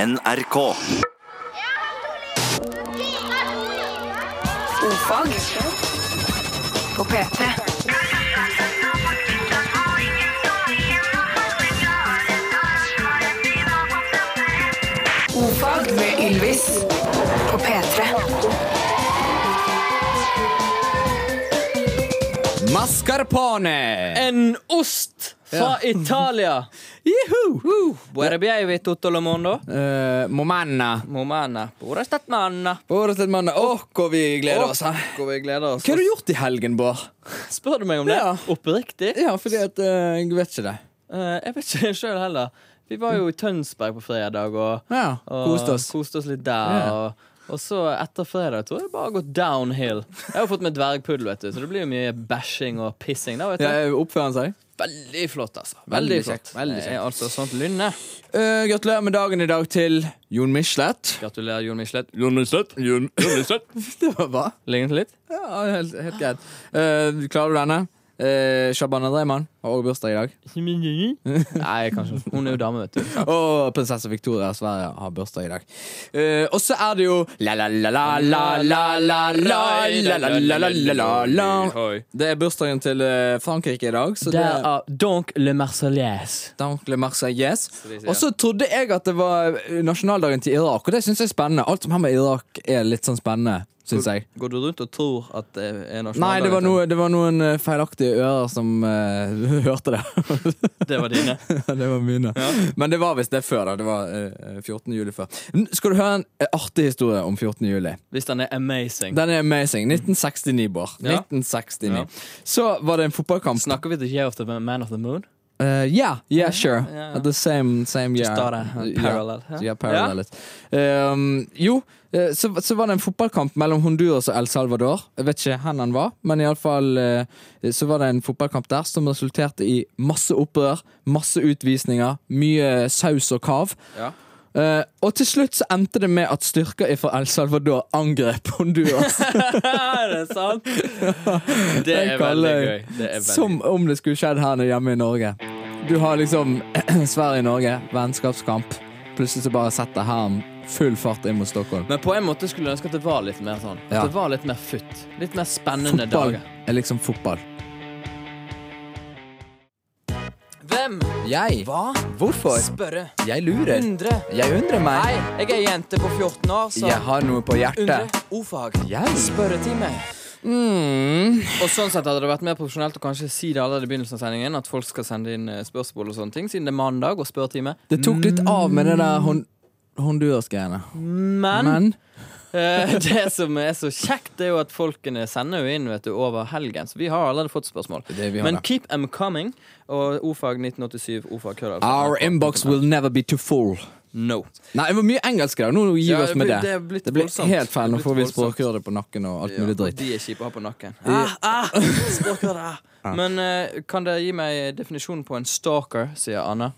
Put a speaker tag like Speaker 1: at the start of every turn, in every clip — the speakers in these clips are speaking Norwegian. Speaker 1: NRK.
Speaker 2: Ofag på P3. Ofag med Ylvis på P3.
Speaker 3: Mascarpone!
Speaker 4: En ost fra Italia. Juhu! Buona bievi tutto il mondo.
Speaker 3: Eh, Momanna.
Speaker 4: Momana. Pura stat manna.
Speaker 3: Årets et mann. Åh, hvor vi gleder oss. eh. hæ?
Speaker 4: Hvor vi gleder oss.
Speaker 3: Hva har du gjort i helgen, Bård?
Speaker 4: Spør du meg om det?
Speaker 3: Ja.
Speaker 4: Oppriktig?
Speaker 3: Ja, fordi at eh, Jeg vet ikke det.
Speaker 4: Eh, jeg vet ikke sjøl heller. Vi var jo i Tønsberg på fredag og,
Speaker 3: Ja,
Speaker 4: og
Speaker 3: Koste oss.
Speaker 4: koste oss litt der.
Speaker 3: Ja.
Speaker 4: Og, og så etter fredag tror jeg det bare har gått downhill. Jeg har jo fått meg dvergpuddel, vet du, så det blir jo mye bæsjing og pissing. da, vet du.
Speaker 3: Ja, Oppfører han seg?
Speaker 4: Veldig flott, altså.
Speaker 3: Veldig
Speaker 4: Veldig
Speaker 3: kjekt,
Speaker 4: flott.
Speaker 3: veldig
Speaker 4: Det er altså sånt lynne.
Speaker 3: Eh, gratulerer med dagen i dag til Jon Michelet.
Speaker 4: Gratulerer, Jon Michelet.
Speaker 3: Jon Michelet? Jon, Michelet. det var bra.
Speaker 4: Lignet litt?
Speaker 3: Ja, helt, helt greit. Eh, klarer du denne? Eh, Shabana Dreyman har også bursdag i dag.
Speaker 4: Nei, kanskje Hun er jo dame, vet du.
Speaker 3: Og prinsesse Victoria av Sverige har bursdag i dag. Eh, og så er det jo la-la-la-la-la-la-la-la-la-la-la-la-la. Det er bursdagen til eh, Frankrike i dag, så det er
Speaker 4: Derav Donk le Marseillaise.
Speaker 3: Dank le Marseillaise.
Speaker 4: de sier.
Speaker 3: Og så trodde jeg at det var eh, nasjonaldagen til Irak, og det syns jeg er spennende. Alt som har med Irak er litt sånn spennende, syns jeg.
Speaker 4: Går du rundt og tror at det er nasjonaldagen?
Speaker 3: Nei, det var, noe, det var noen eh, feilaktige ører som eh, hørte det.
Speaker 4: Det var dine.
Speaker 3: det var mine. Men det var visst det før, da. Det var eh, 14. juli før. N- Skal du høre en eh, artig historie om 14. juli?
Speaker 4: Hvis den er amazing.
Speaker 3: Den er amazing. 1969, Bård.
Speaker 4: Mm. Ja.
Speaker 3: 1969.
Speaker 4: Ja.
Speaker 3: Så var det en fotballkamp.
Speaker 4: Snakker vi til Year of the Man of the Moon?
Speaker 3: Uh, yeah, yeah, sure.
Speaker 4: ja.
Speaker 3: At the same, same year.
Speaker 4: Just da det,
Speaker 3: Ja.
Speaker 4: parallel, ja.
Speaker 3: Ja, parallel it. Um, jo, eh, så, så var det en fotballkamp mellom Honduras og El Salvador. Jeg vet ikke hvor han var, men iallfall uh, så var det en fotballkamp der som resulterte i masse opprør, masse utvisninger, mye saus og kav.
Speaker 4: Ja.
Speaker 3: Eh, og til slutt så endte det med at styrker fra El Salvador angrep Honduras.
Speaker 4: Er det sant? Det
Speaker 3: Den
Speaker 4: er veldig
Speaker 3: kaller jeg
Speaker 4: gøy. Det er veldig
Speaker 3: Som om det skulle skjedd her nede hjemme i Norge. Du har liksom Sverige-Norge, vennskapskamp. Plutselig så bare setter hæren full fart inn mot Stockholm.
Speaker 4: Men på en måte skulle jeg ønske at det var litt mer sånn. At
Speaker 3: Ja.
Speaker 4: det var litt mer futt. Litt mer spennende
Speaker 3: Fotball
Speaker 4: dager.
Speaker 3: er liksom fotball.
Speaker 4: Hvem?
Speaker 3: Jeg?
Speaker 4: Hva?
Speaker 3: Hvorfor?
Speaker 4: Spørre.
Speaker 3: Jeg lurer.
Speaker 4: Undre.
Speaker 3: Jeg undrer
Speaker 4: Nei,
Speaker 3: meg.
Speaker 4: jeg er jente på 14 år, så
Speaker 3: Jeg har noe på
Speaker 4: Undre.
Speaker 3: hjertet.
Speaker 4: Ordfag.
Speaker 3: Jeg?
Speaker 4: Spørretime.
Speaker 3: Mm.
Speaker 4: Og sånn sett hadde det vært mer profesjonelt å kanskje si det allerede i begynnelsen av sendingen, at folk skal sende inn eh, spørsmål og sånne ting, siden det er mandag og spørretime.
Speaker 3: Det tok litt av med det der hon Honduras-greiene.
Speaker 4: Men,
Speaker 3: Men
Speaker 4: eh, det som er så kjekt, det er jo at folkene sender jo inn vet du, over helgen, så vi har allerede fått spørsmål.
Speaker 3: Det er det vi har,
Speaker 4: Men
Speaker 3: da.
Speaker 4: keep em coming, og ordfag 1987, ordfag kødder.
Speaker 3: Our inbox will never be too full.
Speaker 4: No.
Speaker 3: Nei, det var mye engelsk der. Nå gir vi
Speaker 4: Ja,
Speaker 3: oss med det.
Speaker 4: det er blitt
Speaker 3: Det ble
Speaker 4: voldsomt.
Speaker 3: helt feil. Nå
Speaker 4: Det er
Speaker 3: får vi
Speaker 4: blitt voldsomt.
Speaker 3: språkrøret på nakken og alt
Speaker 4: Ja,
Speaker 3: mulig dritt.
Speaker 4: De er kjipe å ha på nakken. Ah, ah, stalker, ah. Men eh, kan dere gi meg definisjonen på en stalker, sier Anna.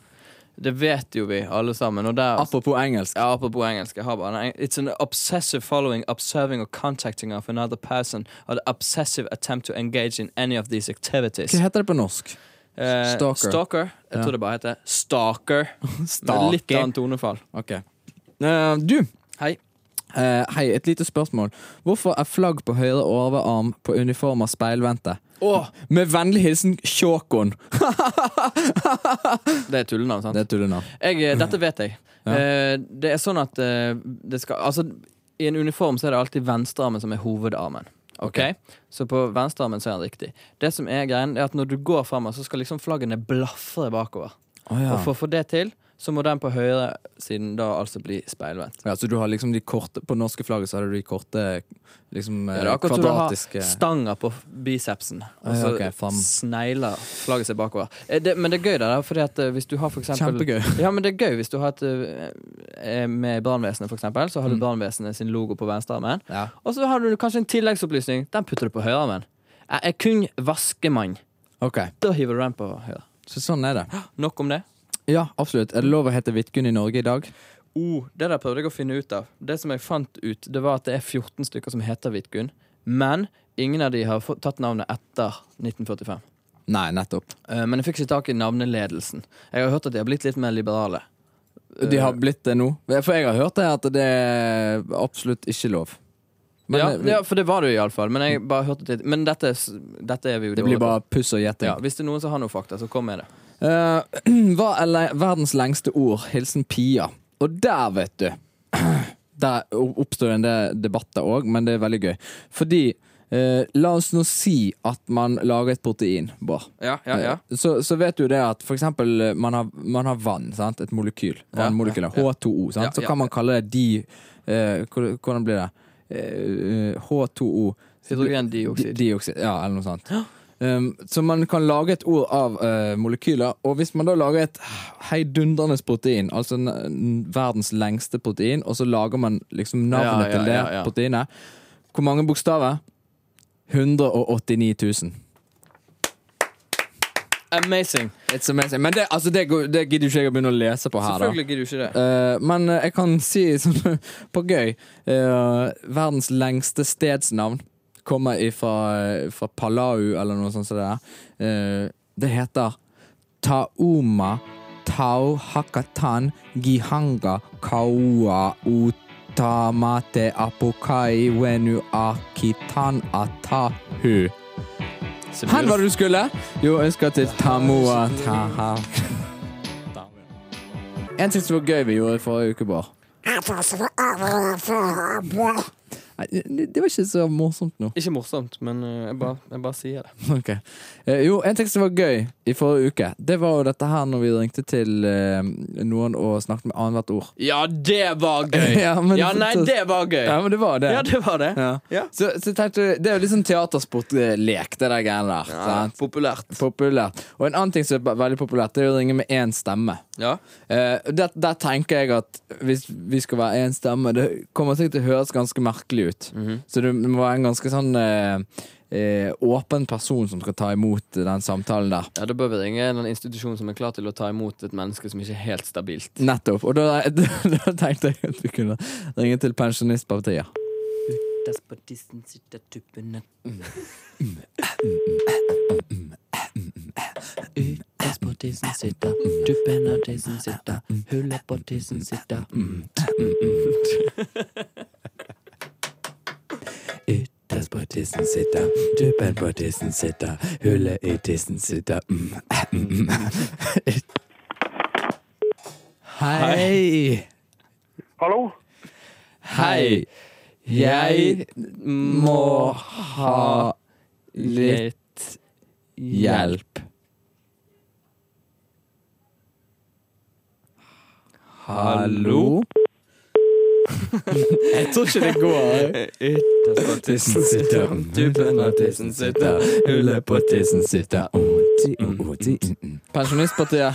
Speaker 4: Det vet jo vi alle sammen. Og der,
Speaker 3: Apropos engelsk.
Speaker 4: ja, apropos engelsk. Jeg har bare en- It's an obsessive following, observing or contacting of another person or the obsessive attempt to engage in any of these activities.
Speaker 3: Hva heter det på norsk?
Speaker 4: Eh,
Speaker 3: Stalker.
Speaker 4: stalker. Jeg tror det bare heter stalker. Med
Speaker 3: Stalker.
Speaker 4: litt annet tonefall.
Speaker 3: Ok. Eh, du,
Speaker 4: Hei.
Speaker 3: eh, hei, et lite spørsmål. Hvorfor er flagg på høyre overarm på uniformer speilvendte?
Speaker 4: Åh,
Speaker 3: Med vennlig hilsen Kjåkon.
Speaker 4: det er tullenavn, sant?
Speaker 3: Det er tullenavn.
Speaker 4: Jeg, eh, dette vet jeg. Eh, det er sånn at eh, det skal Altså, i en uniform så er det alltid venstrearmen som er hovedarmen. Ok? Så på venstrearmen så er den riktig. Det som er greien, er at når du går framover, så skal liksom flaggene blafre bakover.
Speaker 3: Å ja.
Speaker 4: Og for å få det til, så må den på høyresiden da altså bli speilvendt.
Speaker 3: ja. Så du har liksom de korte På norske flagget så har du de korte liksom,
Speaker 4: Det
Speaker 3: eh,
Speaker 4: er akkurat som du
Speaker 3: kvadratiske
Speaker 4: har stanger på bicepsen, og
Speaker 3: ja,
Speaker 4: så
Speaker 3: ok, fram.
Speaker 4: snegler flagget seg bakover. Eh, Det, men det er gøy, det der, fordi at eh, hvis du har for eksempel
Speaker 3: Kjempegøy.
Speaker 4: Ja, men det er gøy hvis du har et eh, Med brannvesenet, for eksempel, så har
Speaker 3: Mm.
Speaker 4: du brannvesenet sin logo på venstrearmen.
Speaker 3: Ja.
Speaker 4: Og så har du kanskje en tilleggsopplysning. Den putter du på høyrearmen. Jeg er kun vaskemann.
Speaker 3: Ok,
Speaker 4: Da hiver du den på høyre.
Speaker 3: Så sånn er det.
Speaker 4: Nok om det.
Speaker 3: Ja, absolutt. Er det lov å hete Vidkun i Norge i dag?
Speaker 4: Oh, det der prøvde jeg å finne ut av. Det som jeg fant ut, det var at det er 14 stykker som heter Vidkun. Men ingen av de har fått, tatt navnet etter 1945.
Speaker 3: Nei, nettopp.
Speaker 4: Eh, men jeg fikk ikke tak i navneledelsen. Jeg har hørt at de har blitt litt mer liberale.
Speaker 3: De har blitt det nå? For jeg har hørt det at det er absolutt ikke lov. Men
Speaker 4: ja,
Speaker 3: det,
Speaker 4: ja, for det var det jo iallfall. Men jeg bare hørte litt Men dette, er s- dette er vi jo
Speaker 3: det
Speaker 4: dårlige
Speaker 3: blir
Speaker 4: på.
Speaker 3: bare puss og gjetting.
Speaker 4: ja, Hvis det er noen som har noe fakta, så kom med det.
Speaker 3: Eh, hva er le verdens lengste ord? Hilsen Pia. Og der, vet du Der o- oppstår en del debatter òg, men det er veldig gøy. Fordi eh, La oss nå si at man lager et protein, Bård.
Speaker 4: Ja, ja, ja.
Speaker 3: Eh, Så, så vet du det at for eksempel eh, man har, man har vann, sant? et molekyl. Vannmolekyler. H2O. Sant?
Speaker 4: Ja,
Speaker 3: Så
Speaker 4: ja.
Speaker 3: kan man kalle det de eh, hvor- Hvordan blir det? Eh, eh, H2O.
Speaker 4: Hydrogendioksid.
Speaker 3: Di- Dioksid, ja, eller noe sånt. Um, så man kan lage et ord av eh, molekyler, og hvis man da lager et heidundrende protein, altså n n verdens lengste protein, og så lager man liksom
Speaker 4: Ja, ja,
Speaker 3: navnet til det
Speaker 4: ja, ja.
Speaker 3: proteinet Hvor mange bokstaver? 189 000.
Speaker 4: Amazing!
Speaker 3: It's amazing. Men det, altså, det, går- det gidder ikke jeg å begynne å lese på her, da.
Speaker 4: Selvfølgelig gidder du ikke det.
Speaker 3: Eh, men eh, jeg kan si sånn på gøy eh, Verdens lengste stedsnavn kommer ifra, eh, fra Palau eller noe sånt. som Det, der. Eh, det heter Tauma Tau Hakatan Gihanga Kaua Utamate Apokai Wenu Akitan Atahu. Hvor var det du skulle? Jo, jeg skal til Tamoa Taha. En ting som var gøy vi gjorde i forrige uke, Bård. Nei, Det det var ikke så morsomt nå.
Speaker 4: Ikke morsomt, men eh, jeg bare, jeg bare sier det.
Speaker 3: Ok. Eh, Jo, en ting som var gøy i forrige uke, det var jo dette her når vi ringte til eh, noen og snakket med annethvert ord.
Speaker 4: Ja, det var gøy!
Speaker 3: Ja, men-
Speaker 4: ja, nei, det var gøy!
Speaker 3: Ja, men det var det.
Speaker 4: Ja, det var det.
Speaker 3: Ja.
Speaker 4: Ja.
Speaker 3: Så, så tenkte jeg, Det er jo litt sånn teatersportlek, det der greiene der. sant?
Speaker 4: Populært.
Speaker 3: Populært. Og en annen ting som er ba- veldig populært, det er å ringe med én stemme.
Speaker 4: Ja.
Speaker 3: Eh, der, der tenker jeg at hvis vi skal være én stemme, det kommer sikkert til å høres ganske merkelig ut. Så du må være en ganske sånn eh, eh, åpen person som skal ta imot den samtalen der.
Speaker 4: ja, Da bør vi ringe en institusjon som er klar til å ta imot et menneske som ikke er helt stabilt.
Speaker 3: Nettopp. Og da, da, tenkte jeg at vi kunne ringe til Pensjonistpartiet.
Speaker 4: Despotismen sitter tuppene Utes på tissen sitter, tuppen av tissen sitter, hullet på tissen sitter.
Speaker 3: Ytterst på tissen sitter, tuppen på tissen sitter, hullet i tissen sitter. Mm. Hei.
Speaker 1: Hallo?
Speaker 3: Hei. Jeg må ha litt hjelp. Hallo? Jeg tror ikke det går.
Speaker 4: Ytterst på
Speaker 3: Tissen sitter, tuppen av tissen sitter, hullet på tissen sitter. Mm, Pensjonistpartiet.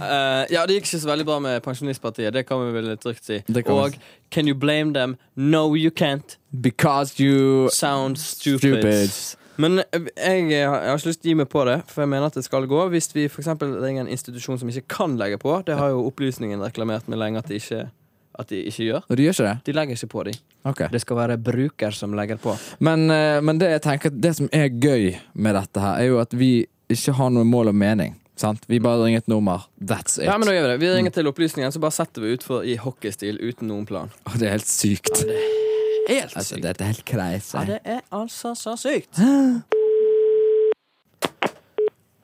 Speaker 4: Eh, Ja, det gikk ikke så veldig bra med Pensjonistpartiet, det kan vi vel trygt si.
Speaker 3: Det kan vi
Speaker 4: Og Can you blame them? No, you can't.
Speaker 3: Because you
Speaker 4: Sound stupid.
Speaker 3: stupid.
Speaker 4: Men eh, jeg, eh, har- jeg har ikke lyst til å gi meg på det, for jeg mener at det skal gå. Hvis vi for eksempel ringer en institusjon som ikke kan legge på, det har jo opplysningen reklamert med lenge at de ikke, at de ikke gjør.
Speaker 3: Og du gjør ikke det?
Speaker 4: De legger ikke på, de.
Speaker 3: Ok.
Speaker 4: Det skal være bruker som legger på.
Speaker 3: Men, eh, men det jeg tenker Det som er gøy med dette her, er jo at vi ikke har noe mål og mening. Sant? Vi bare ringer et nummer. That's it.
Speaker 4: Ja, men da gjør Vi det Vi ringer til opplysningen, så bare setter vi utfor i hockeystil uten noen plan.
Speaker 3: Å, det er helt sykt.
Speaker 4: Helt
Speaker 3: Altså, det er helt crazy.
Speaker 4: Ja, det er altså så sykt.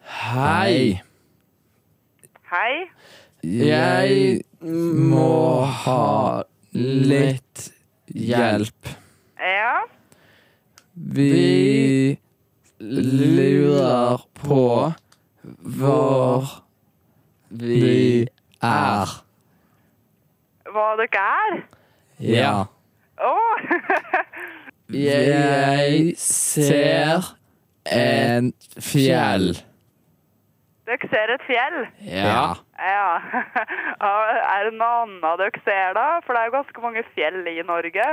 Speaker 3: Hei.
Speaker 1: Hei.
Speaker 3: Jeg må ha litt hjelp.
Speaker 1: Ja.
Speaker 3: Vi lurer på hvor vi er.
Speaker 1: Hva dere er?
Speaker 3: Ja.
Speaker 1: Å,
Speaker 3: Jeg ser en fjell.
Speaker 1: dere ser et fjell.
Speaker 3: Ja.
Speaker 1: Ja. ja. Er det noe annet dere ser, da? For det er jo ganske mange fjell i Norge.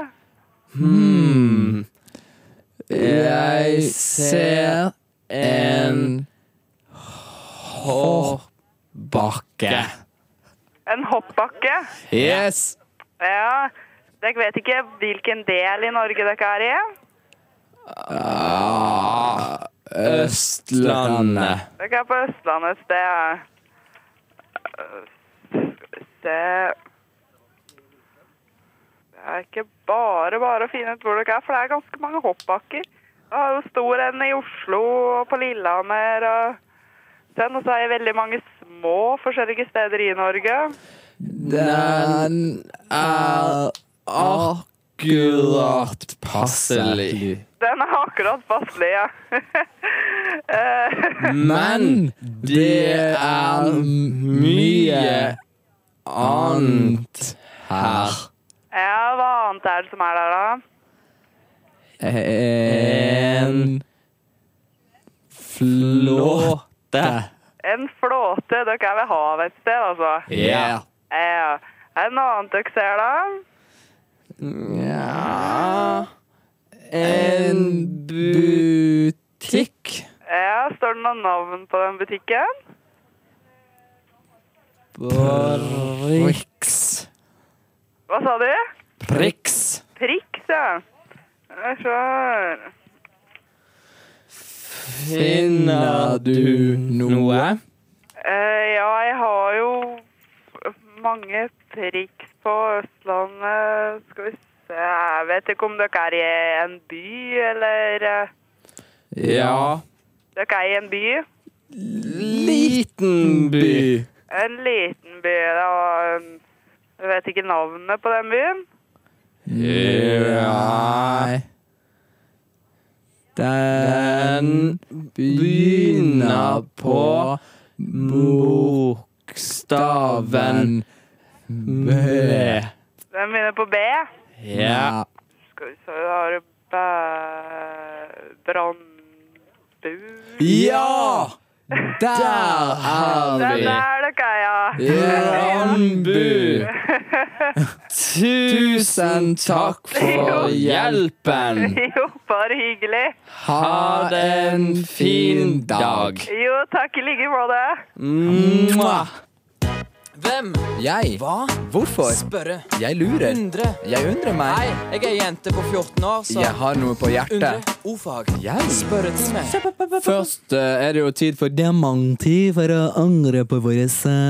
Speaker 3: Jeg ser en hårbakke.
Speaker 1: En hoppbakke.
Speaker 3: Yes!
Speaker 1: Ja. Dere vet ikke hvilken del i Norge dere er i?
Speaker 3: Østlandet.
Speaker 1: Dere er på Østlandet et sted. Det Det er ikke bare bare å finne ut hvor dere er, for det er ganske mange hoppbakker. Jeg har jo stor en i Oslo og på Lillehammer og sånn, og så er det veldig mange små forskjellige steder i Norge.
Speaker 3: Den er akkurat passelig.
Speaker 1: Den er akkurat passelig, ja. Eh,
Speaker 3: Men det er mye annet her.
Speaker 1: ja, hva annet er det som er der, da?
Speaker 3: En flåte.
Speaker 1: En flåte. Dere er ved havet et sted, altså.
Speaker 3: Ja.
Speaker 1: Ja. Er det noe annet dere ser, da?
Speaker 4: En butikk
Speaker 1: Ja, står det noen navn på den butikken?
Speaker 4: Riks.
Speaker 1: Hva sa du?
Speaker 4: Priks.
Speaker 1: Prix, ja. Jeg ser.
Speaker 4: Finner du noe?
Speaker 1: Eh, ja, jeg har jo mange triks på Østlandet. Skal vi se Jeg vet ikke om dere er i en by, eller eh,
Speaker 4: Ja.
Speaker 1: Dere er i en by?
Speaker 4: Liten by.
Speaker 1: En liten by. Da. Jeg vet ikke navnet på den byen.
Speaker 3: Nei. Den begynner på bokstaven B.
Speaker 1: Den begynner på B.
Speaker 4: Ja.
Speaker 1: Skal vi se, da har du bæ- Brandbu
Speaker 3: Ja! Der er
Speaker 1: Den
Speaker 3: vi!
Speaker 1: Sånn er det, Kaja.
Speaker 3: Brannbu! Tusen takk for hjelpen!
Speaker 1: Jo, bare hyggelig.
Speaker 3: Ha en fin dag!
Speaker 1: Jo, takk i like måte.
Speaker 4: Mwah. Hvem?
Speaker 3: Jeg?
Speaker 4: Hva?
Speaker 3: Hvorfor?
Speaker 4: Spørre.
Speaker 3: Jeg lurer.
Speaker 4: Undre.
Speaker 3: Jeg undrer
Speaker 4: Hei,
Speaker 3: meg.
Speaker 4: jeg er jente på 14 år, så
Speaker 3: Jeg har noe på
Speaker 4: Undre.
Speaker 3: hjertet.
Speaker 4: Ordfag.
Speaker 3: Jeg?
Speaker 4: Spørretime.
Speaker 3: Først eh, er det jo tid for diamanttid for å angre på våre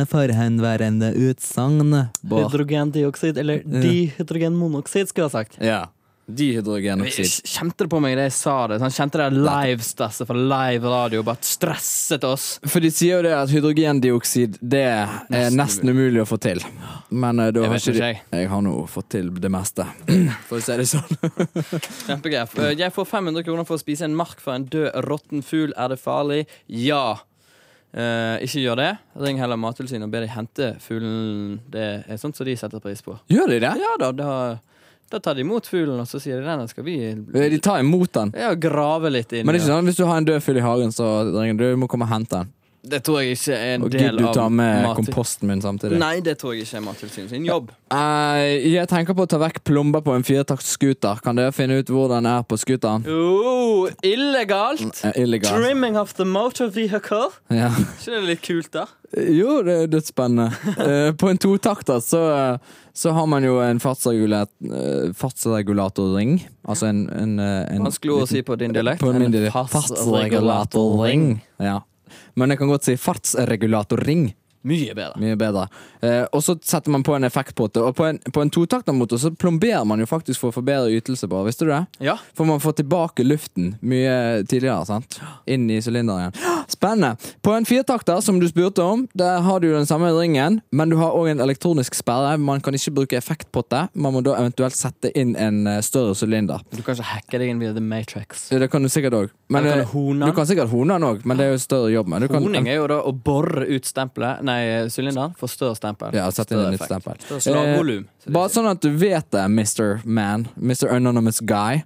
Speaker 3: forhenværende utsagn. Bård.
Speaker 5: Hydrogendioksid, eller dihydrogenmonoksid, skulle jeg ha sagt.
Speaker 3: Ja. Dihydrogenoksid.
Speaker 4: Jeg Kjente det på meg da jeg sa det? Han kjente det live-stresset fra live radio. Bare stresset oss.
Speaker 3: For de sier jo det at hydrogendioksid det er nesten umulig å få til. Men eh, da
Speaker 4: Jeg
Speaker 3: har
Speaker 4: vet
Speaker 3: ikke de
Speaker 4: ikke, jeg.
Speaker 3: Jeg har nå fått til det meste, for å si det sånn.
Speaker 4: Kjempegrep. Eh, Jeg får 500 kroner for å spise en mark fra en død, råtten fugl. Er det farlig? Ja. Eh, ikke gjør det. Ring heller Mattilsynet og be de hente fuglen. Det er sånt som de setter pris på.
Speaker 3: Gjør de det?
Speaker 4: Ja da, da, da tar de imot fuglen, og så sier de den skal vi
Speaker 3: De tar imot den.
Speaker 4: ja, grave litt inn.
Speaker 3: Men det
Speaker 4: i
Speaker 3: er ikke sånn hvis du har en død fugl i hagen, så ringer du må komme og hente den.
Speaker 4: den." det tror jeg ikke er en
Speaker 3: Og
Speaker 4: del
Speaker 3: gidder du ta
Speaker 4: av
Speaker 3: med
Speaker 4: Mattil-
Speaker 3: komposten min samtidig?
Speaker 4: Nei, det tror jeg ikke er Mattilsynet sin jobb.
Speaker 3: Eh, jeg tenker på å ta vekk plomber på en firetaktscooter. Kan dere finne ut hvor den er på scooteren?
Speaker 4: Oh, illegalt!
Speaker 3: Eh, Illegal.
Speaker 4: Trimming of the motor vehicle.
Speaker 3: Ja.
Speaker 4: Ikke det litt kult, da?
Speaker 3: Jo, det er dødsspennende. Eh, på en totakter så, så har man jo en fartsregulat, eh, fartsregulatorring. Altså en, en, eh, en
Speaker 4: Vanskelig ord å si på din dialekt.
Speaker 3: På min
Speaker 4: En
Speaker 3: dialekt. Fartsregulatorring. Ja. Men jeg kan godt si fartsregulatorring.
Speaker 4: Mye bedre.
Speaker 3: Mye bedre. Eh, og så setter man på en effektpotte. Og på en, på en totaktermotor så plomberer man jo faktisk for å få bedre ytelse på. Visste du det?
Speaker 4: Ja.
Speaker 3: For man får tilbake luften mye tidligere, sant? Inn i sylinderen igjen. Spennende. På en firetakter, som du spurte om, der har du jo den samme ringen, men du har òg en elektronisk sperre. Man kan ikke bruke effektpotte. Man må da eventuelt sette inn en eh, større sylinder.
Speaker 4: Du kan ikke hacke deg inn via The Matrix.
Speaker 3: Det kan du sikkert òg.
Speaker 4: Eller kan du hone den?
Speaker 3: Du kan sikkert hone den òg, men det er jo større jobb. Men du kan,
Speaker 4: Honing er jo da å bore ut stempelet, nei, sylinderen, for større stempel.
Speaker 3: ja, sette inn
Speaker 4: Større
Speaker 3: et nytt
Speaker 4: effekt.
Speaker 3: stempel.
Speaker 4: Større slagvolum.
Speaker 3: Eh, bare sånn at du vet det, Mr. Man. Mr. Anonymous Guy.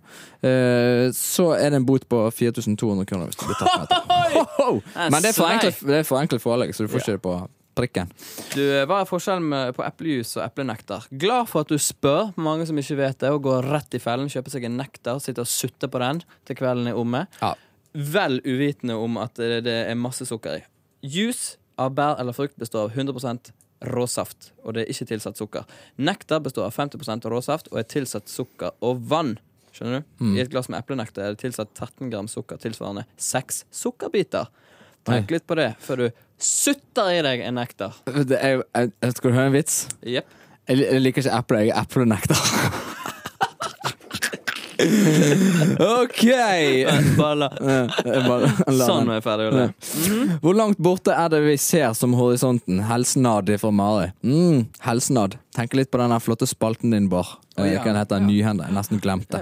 Speaker 3: Eh, så er det en bot på 4200 kroner hvis du blir tatt med det. Ho, ho! Men det er forenklet, det er forenklet forelegg, så du får ikke det på prikken.
Speaker 4: Du, eh, Hva er forskjellen med- på eplejus og eplenektar? Glad for at du spør, mange som ikke vet det, og går rett i fellen, kjøper seg en nektar, sitter og sutter på den til kvelden er omme.
Speaker 3: Ja.
Speaker 4: Vel uvitende om at det det er masse sukker i. Juice av bær eller frukt består av 100 råsaft, og det er ikke tilsatt sukker. Nektar består av 50 råsaft og er tilsatt sukker og vann.
Speaker 3: Mm.
Speaker 4: Skjønner du? I et glass med eplenektar er det tilsatt 13 gram sukker, tilsvarende seks sukkerbiter. Tenk litt på det før du sutter i deg en nektar.
Speaker 3: Det er, jo- jeg, jeg- skal du høre en vits?
Speaker 4: Jepp.
Speaker 3: Jeg, li- jeg liker ikke eple, jeg er eplenekter. OK!
Speaker 4: Balla.
Speaker 3: Eh, jeg bare la
Speaker 4: Sånn
Speaker 3: den.
Speaker 4: er jeg ferdig med det. Mm.
Speaker 3: Hvor langt borte er det vi ser som horisonten? Helsenad fra Mari. Mm, helsenad. Tenk litt på den her flotte spalten din, Bård. Oh,
Speaker 4: ja.
Speaker 3: Hva den heter Nyhende. Jeg nesten glemte.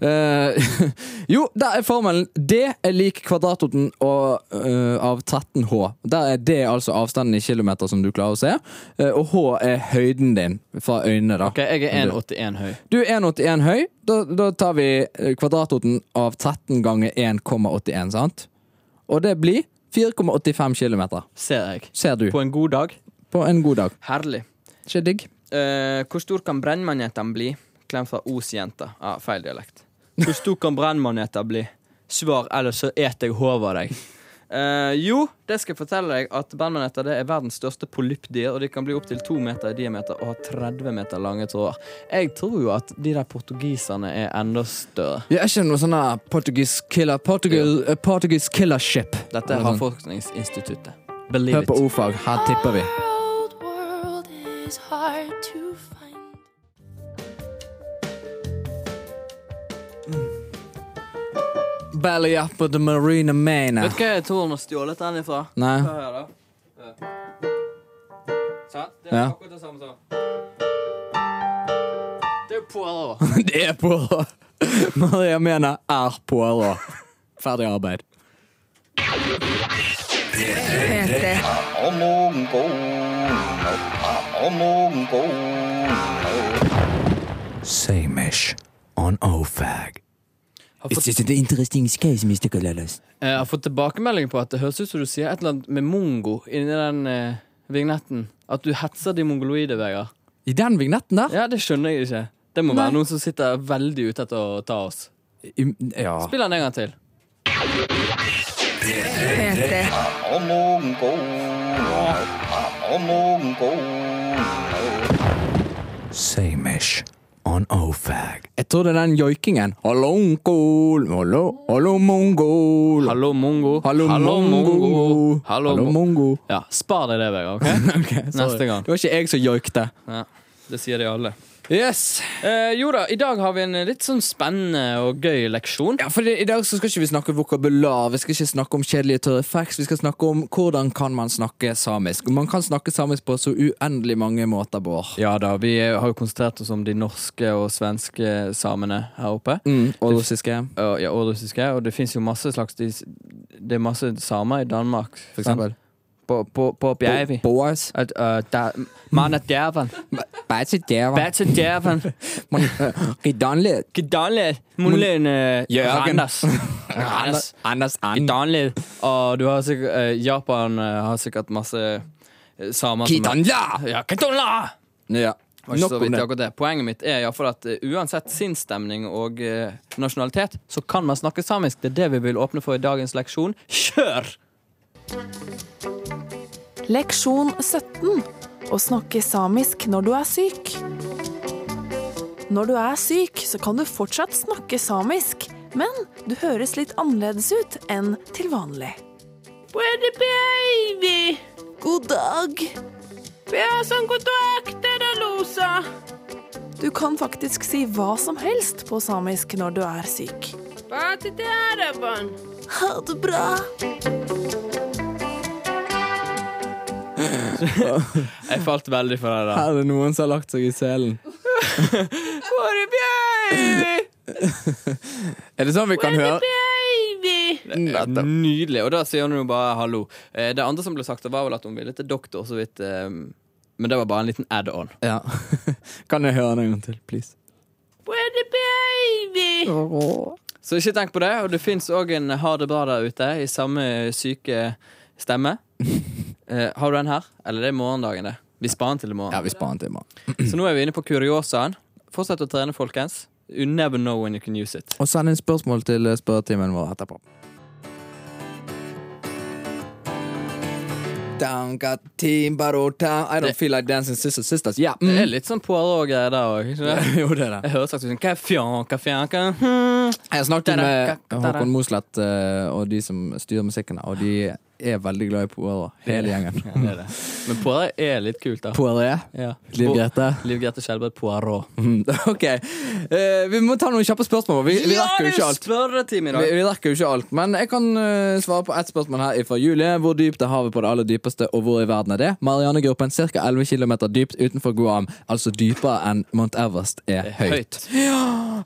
Speaker 3: Eh, jo, der er formelen. D er lik kvadratroten og, eh, av 13H. Der er D altså avstanden i kilometer som du klarer å se, eh, og H er høyden din fra øynene. da.
Speaker 4: Ok, jeg er 1,81 høy.
Speaker 3: Du er 1,81 høy. Da, da tar vi eh, kvadratroten av 13 ganger 1,81, sant? Og det blir 4,85 kilometer
Speaker 4: Ser jeg.
Speaker 3: ser du.
Speaker 4: På en god dag.
Speaker 3: På en god dag.
Speaker 4: Herlig.
Speaker 3: Ikke digg?
Speaker 4: Eh, hvor stor kan brennmaneten bli? Klem fra Os-jenta. Ah, feil dialekt. Hvor stor kan brennmaneten bli? Svar, ellers så et jeg hodet av deg. Eh, jo, det skal jeg fortelle deg at brennmaneter det er verdens største polypdyr, og de kan bli opptil to meter i diameter og ha 30 meter lange tråder. Jeg tror jo at de der portugiserne er enda større.
Speaker 3: Jeg er ikke noe sånn der Portuguese killer Portugal, eh, Portuguese killer ship.
Speaker 4: Dette er
Speaker 3: Eller sånn.
Speaker 4: Havforskningsinstituttet. Believe
Speaker 3: Hør
Speaker 4: it.
Speaker 3: på ordfag. Her tipper vi.
Speaker 6: Our old world is hard to find.
Speaker 3: Mm. Belly up of the marina mana.
Speaker 4: Vet du hva jeg tror hun har stjålet den ifra?
Speaker 3: Nei.
Speaker 4: Hør her, da. Sant? Det er
Speaker 3: Ja.
Speaker 4: akkurat det samme som Det er jo Poirot.
Speaker 3: Det er Poirot. Maria Mena er Poirot. Ferdig arbeid.
Speaker 2: P3.
Speaker 3: Samish on ofag. Is this an interesting case, Mr. Kalalas?
Speaker 4: Eh, Jeg har fått tilbakemelding på at det høres ut som du sier et eller annet med mongo inni den eh, vignetten. At du hetser de mongoloide, Vegard.
Speaker 3: I den vignetten der?
Speaker 4: Ja, det skjønner jeg ikke. Det må være noen som sitter veldig ute etter å ta oss.
Speaker 3: I- Ja.
Speaker 4: Spill den en gang til.
Speaker 2: P3.
Speaker 3: Samish on ofag. Jeg trodde den joikingen Hallo, onkol. Hallo, hallo, mongol.
Speaker 4: Hallo, mongo.
Speaker 3: Hallo, mongo.
Speaker 4: Hallo,
Speaker 3: Hallo,
Speaker 4: mongo.
Speaker 3: mongo.
Speaker 4: Ja, spar deg det, Vegard. ok? Neste gang.
Speaker 3: Det var ikke jeg som joikte.
Speaker 4: Ja, det sier de alle.
Speaker 3: Yes.
Speaker 4: Eh, jo da, i dag har vi en litt sånn spennende og gøy leksjon.
Speaker 3: Ja, for I dag så skal ikke vi snakke vokabular, vi skal ikke snakke om kjedelige tørre facts. Vi skal snakke om hvordan kan man snakke samisk. Og Man kan snakke samisk på så uendelig mange måter, Bård.
Speaker 4: Ja da, vi har jo konsentrert oss om de norske og svenske samene her oppe.
Speaker 3: Mm, og russiske.
Speaker 4: Og, ja, og russiske. Og det fins jo masse slags de, Det er masse samer i Danmark, for eksempel. På, på, på Bjervi.
Speaker 3: Boas.
Speaker 4: At, uh, da, man er djerven.
Speaker 3: Bætsjideva.
Speaker 4: Bætsje djerven.
Speaker 3: Ridanli.
Speaker 4: Gidanlid. Mulig
Speaker 3: Jørgen.
Speaker 4: øh, Randers. Randers.
Speaker 3: Anders
Speaker 4: I
Speaker 3: An.
Speaker 4: Danlid. Og du har sikkert, eh, Japan eh, har sikkert masse eh, samer som
Speaker 3: Kidanla!
Speaker 4: ja, Ketonla!
Speaker 3: Ja.
Speaker 4: Var ikke
Speaker 3: Nok
Speaker 4: så
Speaker 3: om
Speaker 4: vidt
Speaker 3: det.
Speaker 4: akkurat det. Poenget mitt er i hvert fall at eh, uansett sinnsstemning og eh, nasjonalitet, så kan man snakke samisk. Det er det vi vil åpne for i dagens leksjon. Kjør!
Speaker 7: Leksjon 17. Å snakke samisk når du er syk. Når du er syk, så kan du fortsatt snakke samisk, men du høres litt annerledes ut enn til vanlig.
Speaker 6: Pretty baby!
Speaker 7: God dag!
Speaker 6: Vi har sånn kontakt, dere losa!
Speaker 7: Du kan faktisk si hva som helst på samisk når du er syk.
Speaker 6: Bare til det her, Ebon.
Speaker 7: Ha det bra!
Speaker 4: Jeg falt veldig for det der.
Speaker 3: Er det noen som har lagt seg i selen? Er det sånn vi kan høre?
Speaker 6: Baby!
Speaker 3: Nettopp.
Speaker 4: Nydelig. Og da sier hun jo bare hallo. Eh, Det andre som ble sagt, det var vel at hun ville til doktor, så vidt. eh, Men det var bare en liten add-on.
Speaker 3: Ja. Kan jeg høre den en gang til, please?
Speaker 6: Pretty baby!
Speaker 4: Så ikke tenk på det. Og det fins òg en ha det bra der ute i samme syke stemme. Eh, har du den her? Eller det er morgendagen, det. Vi sparer den til i morgen.
Speaker 3: Ja, vi sparer en time.
Speaker 4: Så nå er vi inne på kuriosaen. Fortsett å trene, folkens. You never know when you can use it.
Speaker 3: Og send inn spørsmål til eh, spørretimen vår etterpå. Down, got team, barota. I don't feel like dancing sisters, sisters. Ja.
Speaker 4: Det
Speaker 3: Mm.
Speaker 4: er litt sånn Poirot-greier der òg.
Speaker 3: jo, det
Speaker 4: liksom,
Speaker 3: er det.
Speaker 4: Jeg hører sagt sånn Hva fjan, hva fjan, hva hmm.
Speaker 3: Jeg snakket med Håkon Mosleth eh, og de som styrer musikken her, og de er veldig glad i Poirot, hele gjengen.
Speaker 4: Det er det. Men Poirot er litt kult, da.
Speaker 3: Poirot,
Speaker 4: Ja.
Speaker 3: Liv Grete.
Speaker 4: Liv Grete Skjelbred Poirot.
Speaker 3: Mm, Ok. Eh, vi må ta noen kjappe spørsmål. Vi, vi rekker jo ikke alt.
Speaker 4: spørretime i
Speaker 3: Vi, vi rekker jo ikke alt, men jeg kan eh, svare på ett spørsmål her fra Julie. Hvor dypt er havet på det aller dypeste, og hvor i verden er det? Marianegruppen ca. 11 km dypt utenfor Guam, altså dypere enn Mount Everest er høyt.
Speaker 4: Høyt.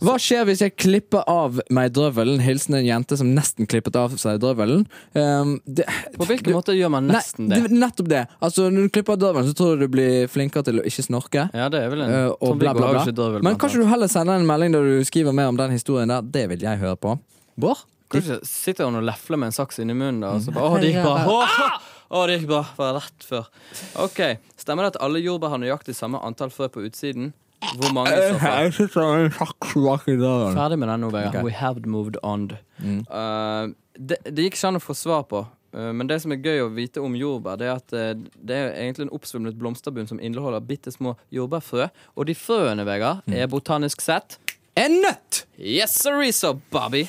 Speaker 3: Hva skjer hvis jeg klipper av meg drøvelen? Hilsen en jente som nesten klippet av seg drøvelen. Um, det,
Speaker 4: På hvilken måte gjør man
Speaker 3: Nei,
Speaker 4: nesten det?
Speaker 3: det- Nettopp det. Altså, når du klipper av drøvelen, så tror du du blir flinkere til å ikke snorke.
Speaker 4: Ja, det er vel en
Speaker 3: Eh, og
Speaker 4: Trond-Viggo
Speaker 3: bla, bla,
Speaker 4: har jo
Speaker 3: bla.
Speaker 4: ikke dørvel,
Speaker 3: Men
Speaker 4: blant
Speaker 3: kanskje du heller sender en melding der du skriver mer om den historien der? Det vil jeg høre på. Bård?
Speaker 4: Kanskje sitter hun og lefler med en saks inni munnen, da, og så bare Å, det gikk bra! Å, å, det gikk bra! Var rett før. Ok, Stemmer det at alle jordbær har nøyaktig samme antall frø på utsiden? Hvor mange i så fall?
Speaker 3: syns det er en saks bak i døren.
Speaker 4: Ferdig med den nå, Vegard.
Speaker 3: Ok.
Speaker 4: We have moved on. Eh, det, det gikk ikke an å få svar på, eh, men det som er gøy å vite om jordbær, det er at eh, det er egentlig en oppsvulmet blomsterbunn som inneholder bitte små jordbærfrø. Og de frøene, Vegard, er botanisk sett
Speaker 3: En nøtt!
Speaker 4: Yes, Sarisa, Bobby!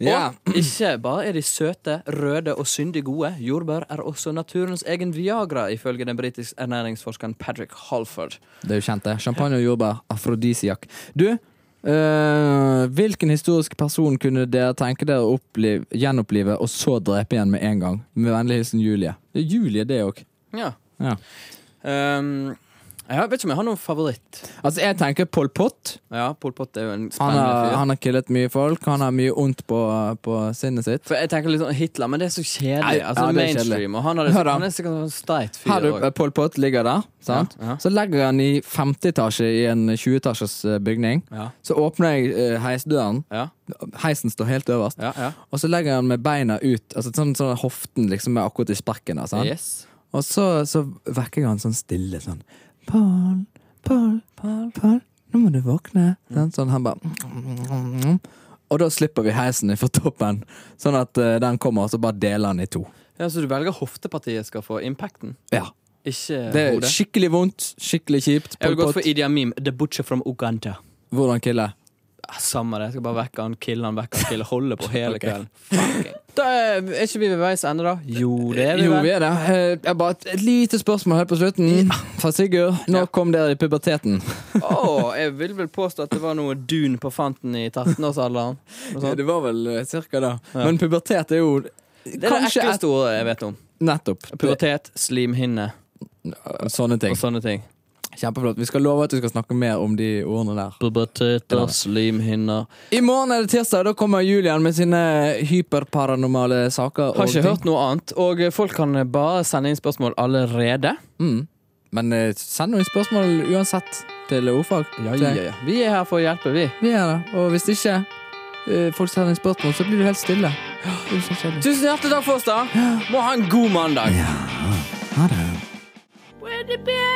Speaker 3: Ja.
Speaker 4: Og ikke bare er de søte, røde og syndig gode, jordbær er også naturens egen Viagra, ifølge den britiske ernæringsforskeren Patrick Halford.
Speaker 3: Det er jo kjent, det. Champagne og jordbær. Afrodisiak. Du, øh, hvilken historisk person kunne dere tenke dere å oppliv, gjenopplive og så drepe igjen med en gang? Med vennlig hilsen Julie. Det er Julie, det òg.
Speaker 4: Ja.
Speaker 3: Ja.
Speaker 4: Ehm, jeg vet ikke om jeg har noen favoritt.
Speaker 3: Altså, jeg tenker Pol Pot.
Speaker 4: Ja, Pol Pot er jo en
Speaker 3: Han har,
Speaker 4: spennende fyr.
Speaker 3: han har killet mye folk. Han har mye ondt på, på sinnet sitt.
Speaker 4: For jeg tenker litt sånn Hitler, men det er så kjedelig.
Speaker 3: Nei,
Speaker 4: altså
Speaker 3: ja, det er
Speaker 4: mainstream,
Speaker 3: kjedelig.
Speaker 4: og han,
Speaker 3: Hør
Speaker 4: hadde,
Speaker 3: da.
Speaker 4: han er sikkert en steit fyr
Speaker 3: Her du,
Speaker 4: også.
Speaker 3: Pol Pot ligger der. Sant?
Speaker 4: Ja, ja.
Speaker 3: Så legger han i femte etasje i en 20 etasjes eh, bygning.
Speaker 4: Ja.
Speaker 3: Så åpner jeg eh, heisdøren.
Speaker 4: Ja,
Speaker 3: Heisen står helt øverst.
Speaker 4: ja, ja.
Speaker 3: Og så legger han med beina ut, altså sånn, sånn at hoften liksom er akkurat i sprekken. der, sant?
Speaker 4: Yes.
Speaker 3: Og så, så vekker jeg han sånn stille sånn Pål, Pål, Pål, nå må du våkne.
Speaker 4: Mm.
Speaker 3: Sant? Sånn han bare Og da slipper vi heisen fra toppen, sånn at eh, den kommer, og så bare deler han i to.
Speaker 4: ja, Så du velger hoftepartiet skal få impacten,
Speaker 3: Ja.
Speaker 4: ikke
Speaker 3: Det er
Speaker 4: hodet?
Speaker 3: skikkelig vondt, skikkelig kjipt.
Speaker 4: Jeg vil
Speaker 3: Pol
Speaker 4: gå
Speaker 3: Pot,
Speaker 4: for Idi Amin, The Butcher from Uganda.
Speaker 3: Hvordan kille?
Speaker 4: Ah, Samme det. Jeg skal bare vekke han, kille han, vekke han, kille Holde på hele kvelden. Fucking. Da er, er ikke vi ved veis ende, da? Jo, det er vi
Speaker 3: Jo,
Speaker 4: vel.
Speaker 3: vi er det. Eh, Jeg bare et- et lite spørsmål helt på slutten. Fra Sigurd. Når kom dere i puberteten?
Speaker 4: Å, jeg vil vel påstå at det var noe dun på fanten i 13-årsalderen. Noe sånt.
Speaker 3: Ja, det var vel eh, cirka det. Men pubertet er jo
Speaker 4: Det er det
Speaker 3: kanskje et
Speaker 4: ekleste ordet jeg vet om.
Speaker 3: Nettopp.
Speaker 4: Pubertet, slimhinne
Speaker 3: Sånne ting.
Speaker 4: og sånne ting.
Speaker 3: Kjempeflott. Vi skal love at vi skal snakke mer om de ordene der.
Speaker 4: Pubertet og slimhinner
Speaker 3: I morgen er det tirsdag, og da kommer Julian med sine hyperparanormale
Speaker 4: Har
Speaker 3: saker.
Speaker 4: ikke
Speaker 3: og ting.
Speaker 4: hørt noe annet. Og eh, folk kan bare sende inn spørsmål allerede.
Speaker 3: Mm. Men eh, send noen spørsmål uansett til ordfag. Det-
Speaker 4: Vi er her for å hjelpe, vi.
Speaker 3: Vi er det. Og hvis ikke eh, folk sender inn spørsmål, så blir du helt stille. Det er så kjedelig.
Speaker 4: Tusen hjertelig takk for oss, da. Må ha en god mandag.
Speaker 6: Where the bear